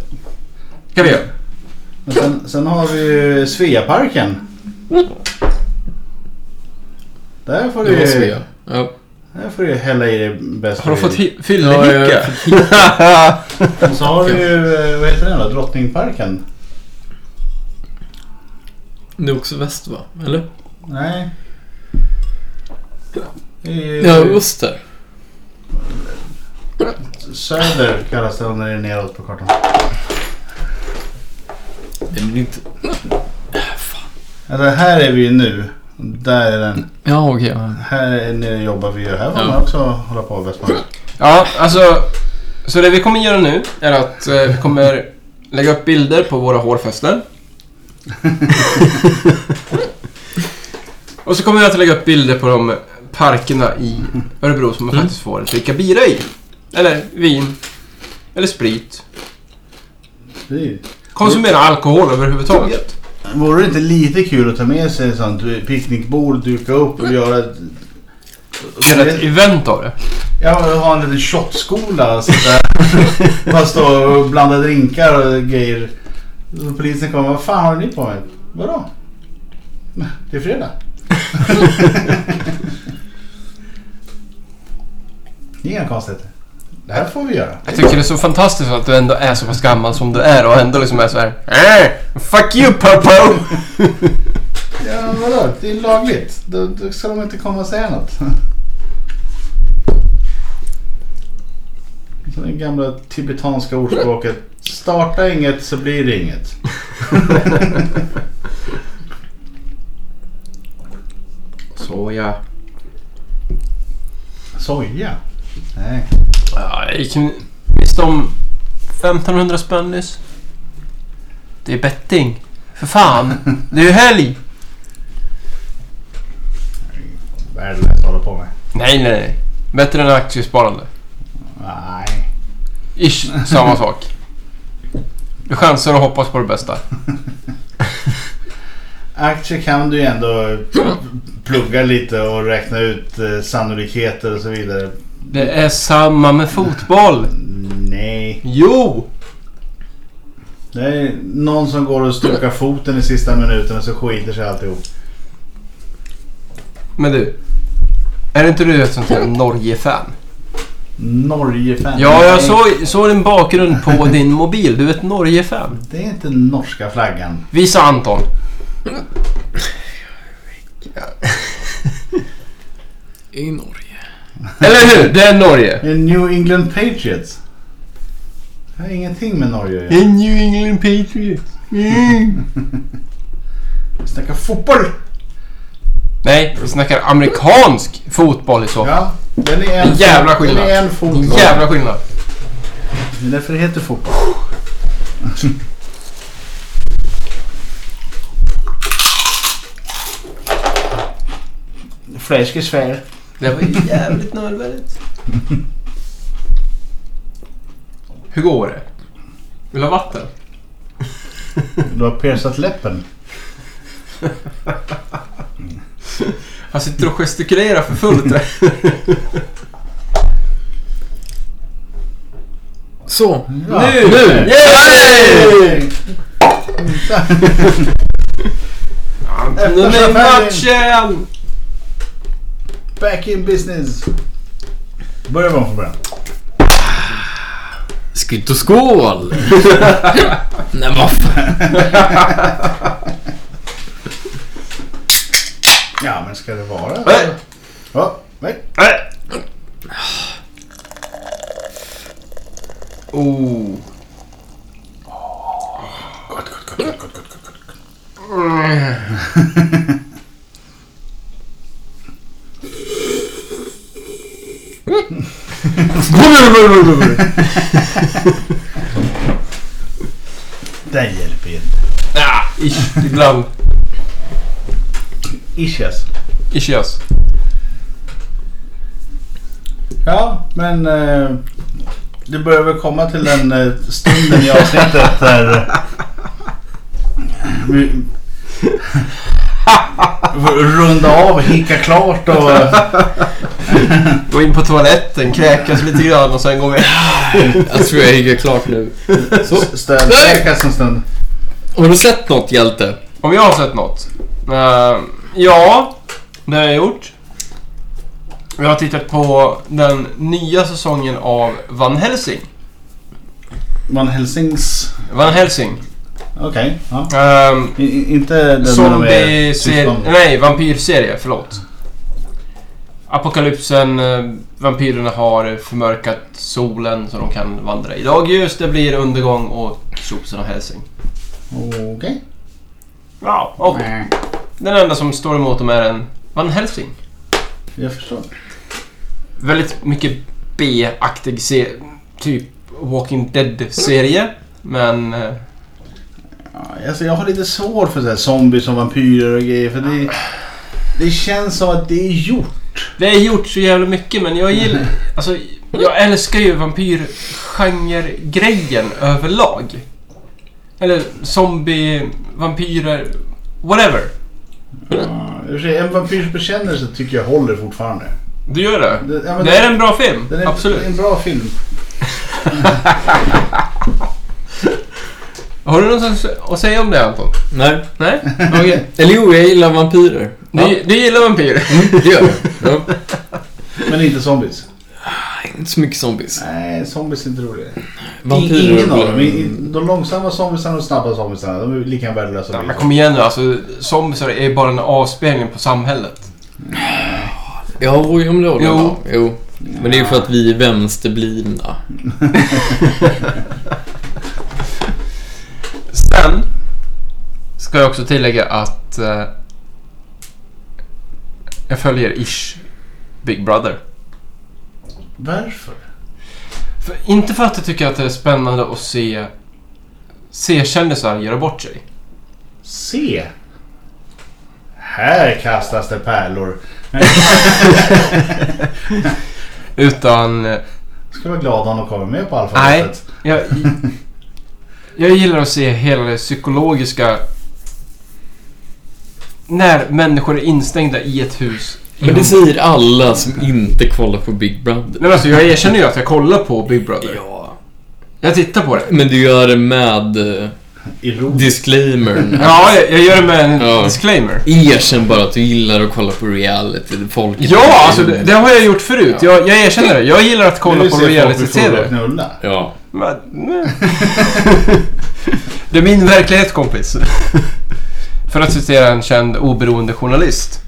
S1: Ska vi göra.
S2: Men sen, sen har vi ju Sveaparken. Där får
S3: Det
S2: du,
S3: var
S2: ju,
S3: Svea. Ja.
S2: där får du ju hälla i dig bäst
S1: Har du
S2: du vill.
S1: fått hi-
S3: Ja, jag har
S1: fyllehycka?
S2: Och så har du ju, eh, vad heter den då? Drottningparken?
S3: Det är också väst va? Eller?
S2: Nej. Det är ju-
S3: Ja, Öster.
S2: Söder kallas det om det är neråt på kartan.
S3: Det blir inte...
S2: Alltså här är vi ju nu. Där är den.
S3: Ja, okej. ja.
S2: Här är nere jobbar vi ju. Här får
S3: Ja.
S2: man också hålla på och Västman.
S1: Ja, alltså. Så det vi kommer göra nu är att eh, vi kommer lägga upp bilder på våra hårfästen. Och så kommer vi att lägga upp bilder på de parkerna i Örebro som man
S3: Mm.
S1: faktiskt får dricka bira i. Eller vin. Eller sprit.
S2: Det är ju
S1: Konsumera alkohol överhuvudtaget.
S2: Vore det inte lite kul att ta med sig ett sånt picknickbord, duka upp och göra ett...
S1: Göra ett event av det.
S2: Ja, ha en liten shotskola och sånt där. Bara stå och blanda drinkar och grejer. Så polisen kommer. Vad fan har ni på med? Vadå? Det är fredag. det är inga konstigheter. Det här får vi göra.
S1: Jag tycker det är så fantastiskt att du ändå är så pass gammal som du är och ändå liksom är så här. "Eh, Fuck you Popo!
S2: Ja, men vadå? Det är lagligt. Då, då ska de inte komma och säga något. Så det gamla tibetanska ordspråket. Starta inget så blir det inget.
S1: Så ja.
S2: Soja? Nej.
S1: Ja, jag gick miste om 1500 spänn nyss. Det är betting. För fan! Det är ju helg!
S2: Värdelöst att hålla på med.
S1: Nej, nej, nej. Bättre än aktiesparande.
S2: Nej.
S1: Ish, samma sak. Du chansar och hoppas på det bästa.
S2: Aktier kan du ju ändå plugga lite och räkna ut eh, sannolikheter och så vidare.
S1: Det är samma med fotboll.
S2: Nej.
S1: Jo!
S2: Det är någon som går och stukar foten i sista minuten och så skiter sig alltihop.
S1: Men du. Är inte du ett sånt här Norge-fan?
S2: Norge-fan.
S1: Ja, jag
S2: Nej.
S1: såg, såg din bakgrund på din mobil. Du är ett Norge-fan.
S2: Det är inte norska flaggan.
S1: Visa Anton.
S3: I Norge.
S1: Eller hur? Det är Norge.
S2: Det är New England Patriots. Det har ingenting med Norge att göra.
S1: En New England Patriots. Mm.
S2: Vi snackar fotboll!
S1: Nej, vi snackar amerikansk fotboll i så fall.
S2: Ja, den är en,
S1: Jävla skillnad.
S2: Den är en fotboll.
S1: Jävla skillnad.
S2: Det är därför det heter fotboll. Fläsk är svär.
S1: Det var ju jävligt nödvändigt. Hur går det? Vill du ha vatten?
S2: Du har piercat läppen.
S1: Han sitter och gestikulerar för fullt. där.
S3: Så.
S2: Ja.
S3: Nu!
S1: Yay! Nu
S2: Eftersom
S1: är
S2: färgen-
S1: matchen!
S2: Back in business. Börjar vi om från början.
S3: Skutt och skål! Nej, vad fan.
S2: Ja, men ska det vara?
S1: Nej.
S2: Ja, nej.
S1: Nej. Oh.
S2: Gott, gott, gott, gott, gott, gott, gott, gott. Det hjälper ju inte.
S1: Ah, ish, ibland.
S2: Ischias.
S1: Ish yes.
S2: Ja, men eh, det börjar väl komma till den eh, stunden i avsnittet där eh, vi får runda av, hicka klart och eh,
S1: Gå in på toaletten, kräkas lite grann och sen går vi.
S3: Jag tror jag är klart nu. Så.
S2: städsäkas en stund.
S3: Har du sett något hjälte?
S1: Om jag har sett något? Eh, ja, det har jag gjort. Jag har tittat på den nya säsongen av Van Helsing.
S2: Van Helsings...
S1: Van Helsing.
S2: Okej, ja.
S1: Um,
S2: I- i- inte den
S1: Zombie-serie...
S2: syskon.
S1: Nej, vampyrserie. Förlåt. Apokalypsen, eh, vampyrerna har förmörkat solen så de kan vandra i dagljus. Det blir undergång och tjosan och hälsing.
S2: Okej.
S1: Ja, och den enda som står emot dem är en Van Helsing.
S2: Jag förstår.
S1: Väldigt mycket B-aktig se- typ Walking Dead-serie. Men eh,
S2: Ja, Alltså, jag har lite svårt för så här zombies och vampyrer och grejer för det, det känns som att det är gjort.
S1: det är gjort så jävla mycket men jag gillar... Alltså, jag älskar ju vampyrgenre-grejen överlag. Eller zombie, vampyrer, whatever.
S2: Ja, i och för sig, en vampyrs bekännelse tycker jag håller fortfarande.
S1: Du gör det?
S2: Det- ja, men
S1: Det är en bra film,
S2: den är,
S1: absolut.
S2: Det är en bra film.
S1: Har du något att säga om det Anton?
S3: Nej.
S1: Nej? Okej.
S3: Eller jo, jag gillar vampyrer. Ja,
S1: Du, du gillar vampyrer?
S3: det gör jag. Ja.
S2: Men inte zombies.
S3: Inte så mycket zombies.
S2: Nej, zombies är inte roliga.
S3: Vampyrer
S2: Ingen av
S3: blir-
S2: dem. I- i- De långsamma zombiesarna och de snabba zombiesarna, de är lika värdelösa.
S1: Ja, men kom igen nu alltså. Zombiesar är bara en avspegling på samhället.
S3: Ja, jo, men det håller
S1: Jo.
S3: jag med om. Jo. Men det är ju för att vi är vänsterblivna.
S1: Mm. Sen ska jag också tillägga att eh, jag följer ish Big Brother.
S2: Varför?
S1: För, inte för att jag tycker att det är spännande att se, se kändisar göra bort sig.
S2: Se! Här kastas det pärlor.
S1: Utan eh,
S2: Ska vara glad om de kommer med på
S1: Nej.
S2: alfabetet.
S1: jag, jag gillar att se hela det psykologiska... När människor är instängda i ett hus.
S3: Men det säger alla som inte kollar på Big Brother.
S1: Nej, men alltså, jag erkänner ju att jag kollar på Big Brother.
S3: Ja.
S1: Jag tittar på det.
S3: Men du gör det med eh,
S2: Ironiskt.
S3: disclaimern.
S1: Ja, jag, jag gör det med en
S3: Ja.
S1: disclaimer.
S3: Erkänn bara att du gillar att kolla på reality. Folket
S2: Mm.
S1: Ja, alltså det, det har jag gjort förut.
S3: Ja.
S1: Jag, jag erkänner det. Jag gillar att kolla
S2: Nu
S1: på
S2: ser folk hur folk
S1: reality-tv.
S2: knulla.
S3: Ja.
S1: Men- nej. Det är min verklighet, kompis. För att citera en känd oberoende journalist.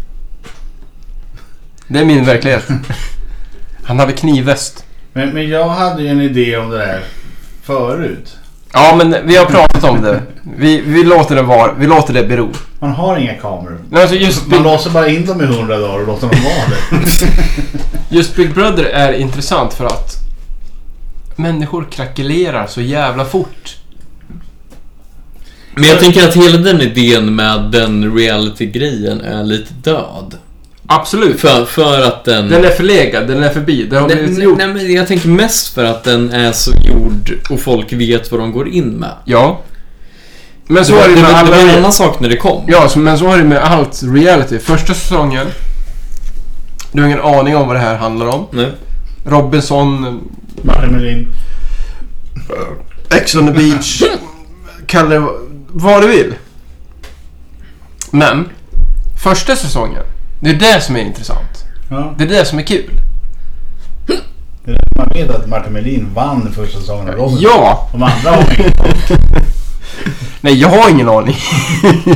S1: Det är min verklighet. Han hade knivväst.
S2: Men, men jag hade ju en idé om det där förut.
S1: Ja, men vi har pratat om det. Vi, vi låter det vara. Vi låter det bero.
S2: Man har inga kameror.
S1: Men alltså just
S2: Man
S1: Big,
S2: låser bara in dem i hundra dagar och låter dem vara det.
S1: just Big Brother är intressant för att människor krackelerar så jävla fort.
S3: Men jag tänker att hela den idén med den reality-grejen är lite död.
S1: Absolut.
S3: För, för att den...
S1: Den är förlegad, den är förbi. Den har
S3: Mm. Nej,
S1: blivit
S3: nej,
S1: gjord.
S3: nej, men jag tänker mest för att den är så gjord och folk vet vad de går in med.
S1: Ja. Men så
S3: det,
S1: är
S3: var,
S1: det
S3: det,
S1: med
S3: var, det var en
S1: alla...
S3: annan sak när det kom.
S1: Ja, så- men så är det med allt reality. Första säsongen. Du har ingen aning om vad det här handlar om.
S3: Nej.
S1: Robinson,
S2: Martin Melin.
S1: Ex on the beach. Kalla det vad du vill. Men, första säsongen. Det är det som är intressant.
S2: Ja.
S1: Det är det som är kul.
S2: Man vet att Martin Melin vann första säsongen av Robinson.
S1: Ja!
S2: De andra var ju...
S1: Nej, jag har ingen aning.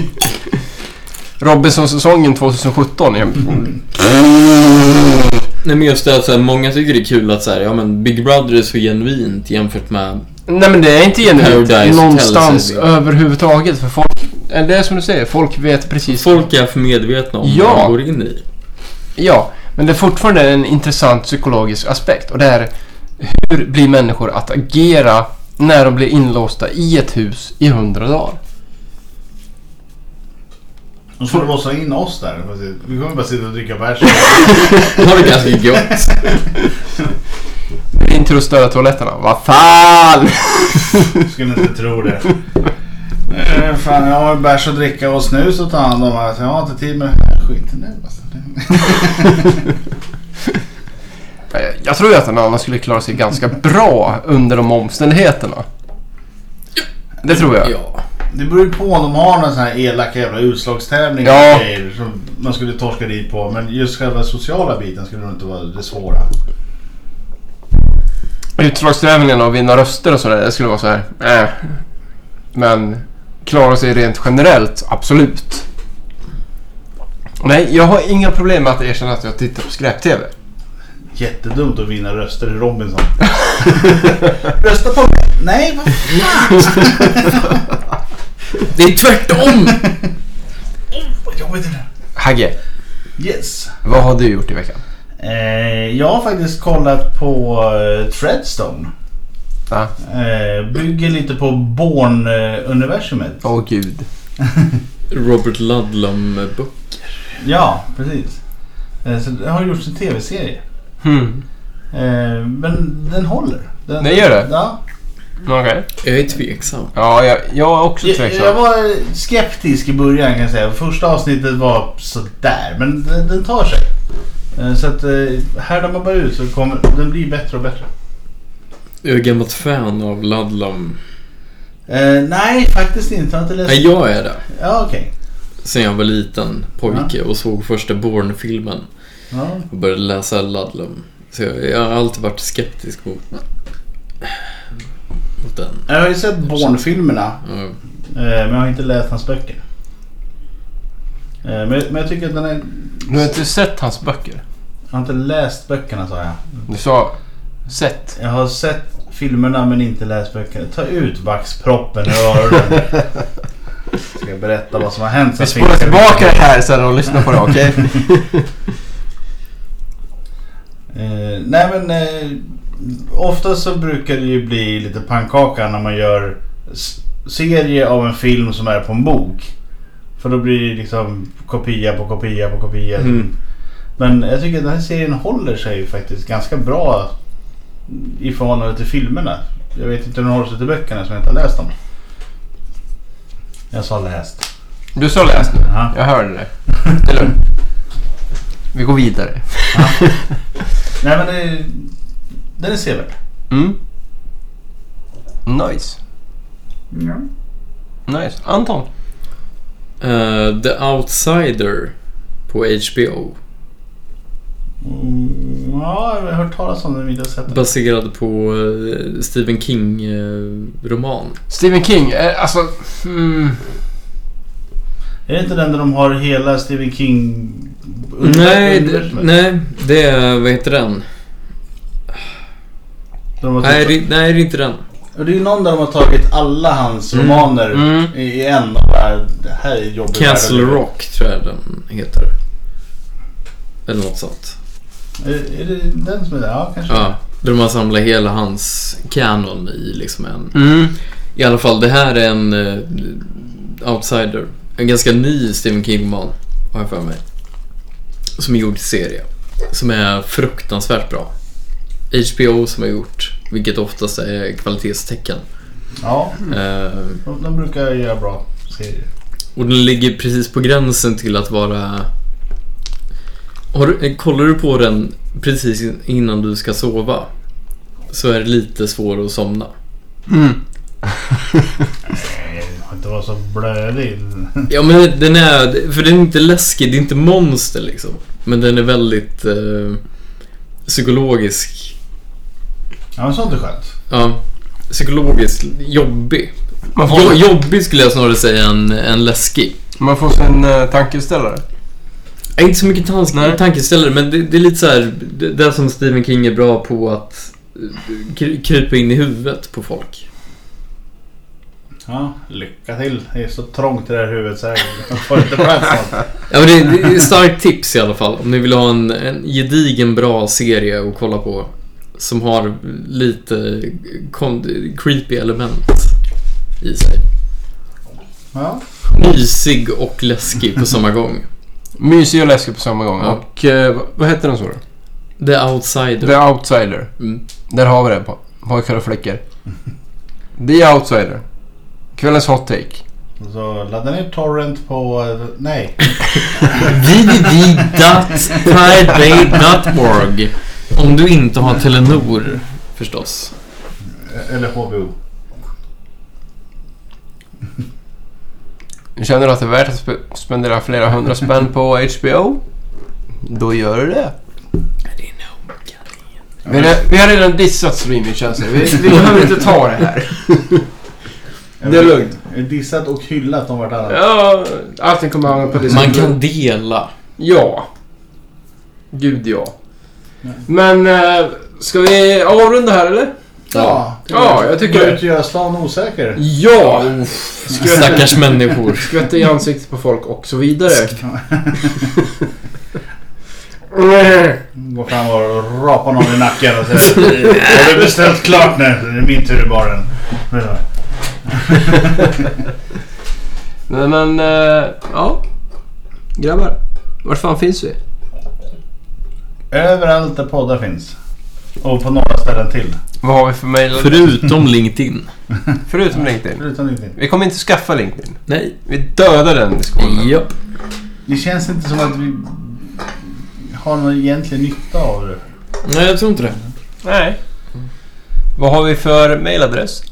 S1: Robinson-säsongen 2017. Jag...
S3: Nej men just det att så här, många tycker det är kul att så här, ja men Big Brother är så genuint jämfört med...
S1: Nej men det är inte
S3: Paradise
S1: genuint
S3: Hotel
S1: någonstans
S3: säger vi.
S1: överhuvudtaget. För folk, eller det är som du säger, folk vet precis.
S3: Folk är för medvetna om
S1: Ja.
S3: vad de går in i.
S1: Ja, men det är fortfarande en intressant psykologisk aspekt. Och det är hur blir människor att agera när de blir inlåsta i ett hus i hundra dagar?
S2: De skulle låsa in oss där. Vi kommer bara sitta och dricka bärs.
S3: Har det ganska gött.
S1: In till de störa toaletterna. Vad fan!
S2: Skulle inte tro det. Eh, Fan, jag har bärs att dricka och snus att ta hand om. Alltså, jag har inte tid med den här skiten nu. Alltså.
S1: Jag- Eh, Jag tror ju att en annan skulle klara sig ganska bra under de omständigheterna. Det tror jag.
S3: Ja.
S2: Det beror ju på om de har någon sån här elaka jävla utslagstävling
S1: Ja.
S2: och grejer som man skulle torska dit på. Men just själva sociala biten skulle nog inte vara det svåra.
S1: Utslagstävlingarna och vinna röster och sådär, det skulle vara så här. Äh. Men klara sig rent generellt, absolut. Nej, jag har inga problem med att erkänna att jag tittar på skräp-TV.
S2: Jättedumt att vinna röster i Robinson. Rösta på mig! Nej, vad fan!
S3: Det är tvärtom!
S2: Vad jobbigt det där.
S1: Hagge,
S2: Yes.
S1: vad har du gjort i veckan?
S2: Eh, jag har faktiskt kollat på eh, Treadstone.
S1: Va?
S2: Eh, bygger lite på Born-universumet.
S1: Åh gud.
S3: Robert Ludlum-bok.
S2: Ja, precis. Eh, så det har gjorts en tv-serie.
S1: Hmm.
S2: Eh, men den håller. Den,
S1: Den gör det?
S2: Ja.
S1: Okej.
S3: Jag är tveksam.
S1: Ja, jag, jag är också
S2: Jag, jag
S1: tveksam.
S2: var skeptisk i början kan jag säga. Första avsnittet var sådär, men den, den tar sig. Eh, Så att eh, härdar man bara ut så kommer den bli bättre och bättre.
S3: Jag är gammalt fan av Ludlum.
S2: Eh, nej, faktiskt inte. Jag har inte läst...
S3: Nej, jag är det.
S2: Ja, okej.
S3: Sen jag var liten pojke och såg första Bourne-filmen.
S2: Ja.
S3: och började läsa Ludlum. Så jag, jag har alltid varit skeptisk mot, mot den.
S2: Jag har ju sett Bourne-filmerna,
S3: Ja.
S2: eh, men jag har inte läst hans böcker. Eh, Men, men jag tycker att den är...
S1: Du har inte sett hans böcker?
S2: Jag har inte läst böckerna sa jag.
S1: Du sa sett.
S2: Jag har sett filmerna men inte läst böckerna. Ta ut vaxproppen ur öronen. Ska jag berätta vad som har hänt. sen
S1: Vi spolar
S2: finns det-
S1: tillbaka det här sen och lyssnar på det, okej?
S2: Eh, nej men eh, ofta så brukar det ju bli lite pannkaka när man gör s- serie av en film som är på en bok. För då blir det liksom kopia på kopia på kopia.
S3: Mm.
S2: Men jag tycker att den här serien håller sig faktiskt ganska bra i förhållande till filmerna. Jag vet inte hur den håller sig till böckerna som jag inte har läst dem. Jag sa läst.
S1: Du sa läst nu.
S2: Ja.
S1: Jag hörde det. Det är lugnt. Vi går vidare.
S2: Nej men det, den är sevärd.
S1: Mm. Nice. Nice. Anton.
S3: Eh, The Outsider på HBO.
S2: Mm, ja, jag har hört talas om den men inte sett den.
S3: Baserad på eh, Stephen eh, King-roman.
S1: Stephen King. eh, Alltså... Mm.
S2: Är det inte den där de har hela Stephen King...
S3: nej, det,
S2: universumet?
S3: nej, det är... Vad heter den?
S2: Där de har
S3: Nej
S2: tagit-
S3: det, nej, det är inte den.
S2: Och det är ju någon där de har tagit alla hans
S3: Mm,
S2: romaner
S1: mm.
S2: i i en och bara, det här är jobbigt.
S3: Castle Rock tror jag den heter. Eller något sånt.
S2: Är, är det den som är där? Ja, kanske.
S3: Ja, där man samlar hela hans kanon i liksom en
S1: Mm.
S3: I alla fall, det här är en eh, Outsider. En ganska ny Stephen King-roman, har jag för mig. Som är gjord i serie. Som är fruktansvärt bra. HBO som har gjort, vilket oftast är kvalitetstecken.
S2: Ja,
S3: Eh,
S2: de, de brukar göra bra serier.
S3: och den ligger precis på gränsen till att vara... Har du, eh, kollar du på den precis in- innan du ska sova så är det lite svårare att somna.
S1: Mm.
S2: Nej, det får inte vara så blödig.
S3: Ja men den är, för den är inte läskig, det är inte monster liksom. Men den är väldigt eh, psykologisk.
S2: Ja, men sånt är skönt.
S3: Ja, psykologiskt jobbig.
S1: Man får,
S3: Jo, jobbig skulle jag snarare säga än, än läskig.
S1: man får sin eh, tankeställare.
S3: Ja, Inte så mycket tans-
S1: Nej.
S3: tankeställare men det, det är lite så här, det, det som Stephen King är bra på att eh, kry- krypa in i huvudet på folk.
S2: Ja, lycka till. Det är så trångt i det här huvudet så här. Jag får inte plats något.
S3: Ja, men det, det är ett starkt tips i alla fall om ni vill ha en, en gedigen bra serie att kolla på. Som har lite kon- creepy element i sig.
S2: Ja.
S3: Mysig och läskig på samma gång.
S1: Mysig och läskig på samma gång.
S3: Ja.
S1: Och eh, vad heter den så då?
S3: The Outsider.
S1: The Outsider.
S3: Mm.
S1: Där har vi det. på- Pojkar och flickor. The Outsider. Kvällens hot take.
S2: Så ladda ner Torrent på... Nej.
S3: www.pridebay.org Om du inte har Telenor förstås.
S2: Eller HBO.
S1: Känner du att det är värt att spe- spendera flera hundra spänn på HBO? Då gör du det. Vi har, vi har redan dissat streamingtjänster. Vi, vi behöver inte ta det här. Det är lugnt.
S2: Dissat och hyllat om vartannat.
S1: Ja, allting kommer hamna på
S3: Man
S1: diskussion.
S3: kan dela.
S1: Ja. Gud ja. Men eh, ska vi avrunda här eller?
S2: Ja,
S1: Ja, jag tycker
S2: Gå
S1: det.
S2: ut och göra stan osäker.
S1: Ja!
S3: Stackars människor.
S1: Skvätta i ansiktet på folk och så vidare. Eh.
S2: Gå fram och rapa någon i nacken och säga Har du beställt klart nu? Det är min tur i baren.
S1: Nej men, eh, ja. Grabbar, vart fan finns vi?
S2: Överallt där poddar finns. Och på några ställen till.
S1: Vad har vi för mejl?
S3: Förutom LinkedIn.
S1: Förutom LinkedIn.
S2: Förutom LinkedIn.
S1: Vi kommer inte skaffa LinkedIn.
S3: Nej.
S1: Vi dödar den diskussionen.
S3: Japp.
S2: Det känns inte som att vi har någon egentlig nytta av det.
S3: Nej, jag tror inte det.
S1: Nej. Vad har vi för mejladress?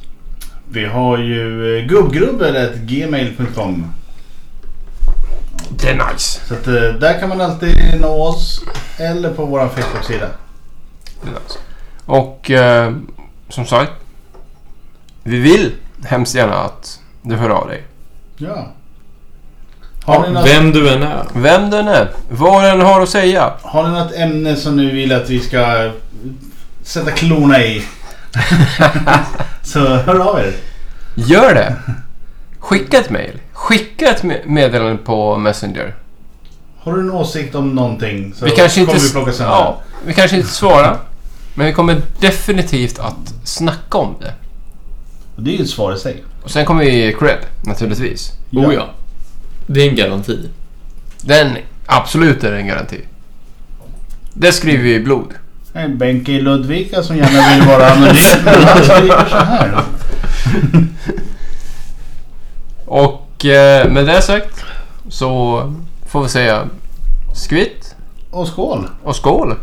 S2: Vi har ju eh, gubbgrubbel.gmail.com
S1: Det är nice.
S2: Så att eh, där kan man alltid nå oss. Eller på vår Facebook-sida.
S1: Det är nice. Och eh, som sagt. Vi vill hemskt gärna att du hör av dig.
S2: Ja. Har ni något,
S3: Vem du än är.
S1: Vem den är. Vad den har att säga.
S2: har ni något ämne som ni vill att vi ska sätta klorna i? Så hör av er.
S1: Gör det! Skicka ett mejl. Skicka ett me- meddelande på Messenger.
S2: Har du en åsikt om någonting så
S1: Vi kanske inte,
S2: kommer vi
S1: s-
S2: plocka sönder
S1: ja, vi kanske inte svarar. Men vi kommer definitivt att snacka om det.
S2: det. Det är ju ett svar i sig.
S1: Och sen kommer vi ge cred, naturligtvis.
S3: Oh ja. Det är en garanti.
S1: Den, absolut är det en garanti. Det skriver vi i blod.
S2: Det är Benke i Ludvika som gärna vill vara anonym. Men han skriver så här.
S1: Och eh, med det sagt så får vi säga skvitt
S2: Och skål!
S1: och skål.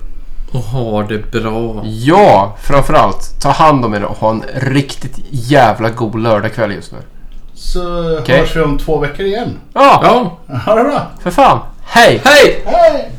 S3: Och ha det bra.
S1: Ja, framförallt ta hand om er och ha en riktigt jävla god lördagkväll just nu.
S2: Så
S1: Okej.
S2: hörs vi om två veckor igen.
S1: Ja,
S3: Ja.
S2: Ha det bra!
S1: för fan. Hej!
S3: Hej!
S2: Hej!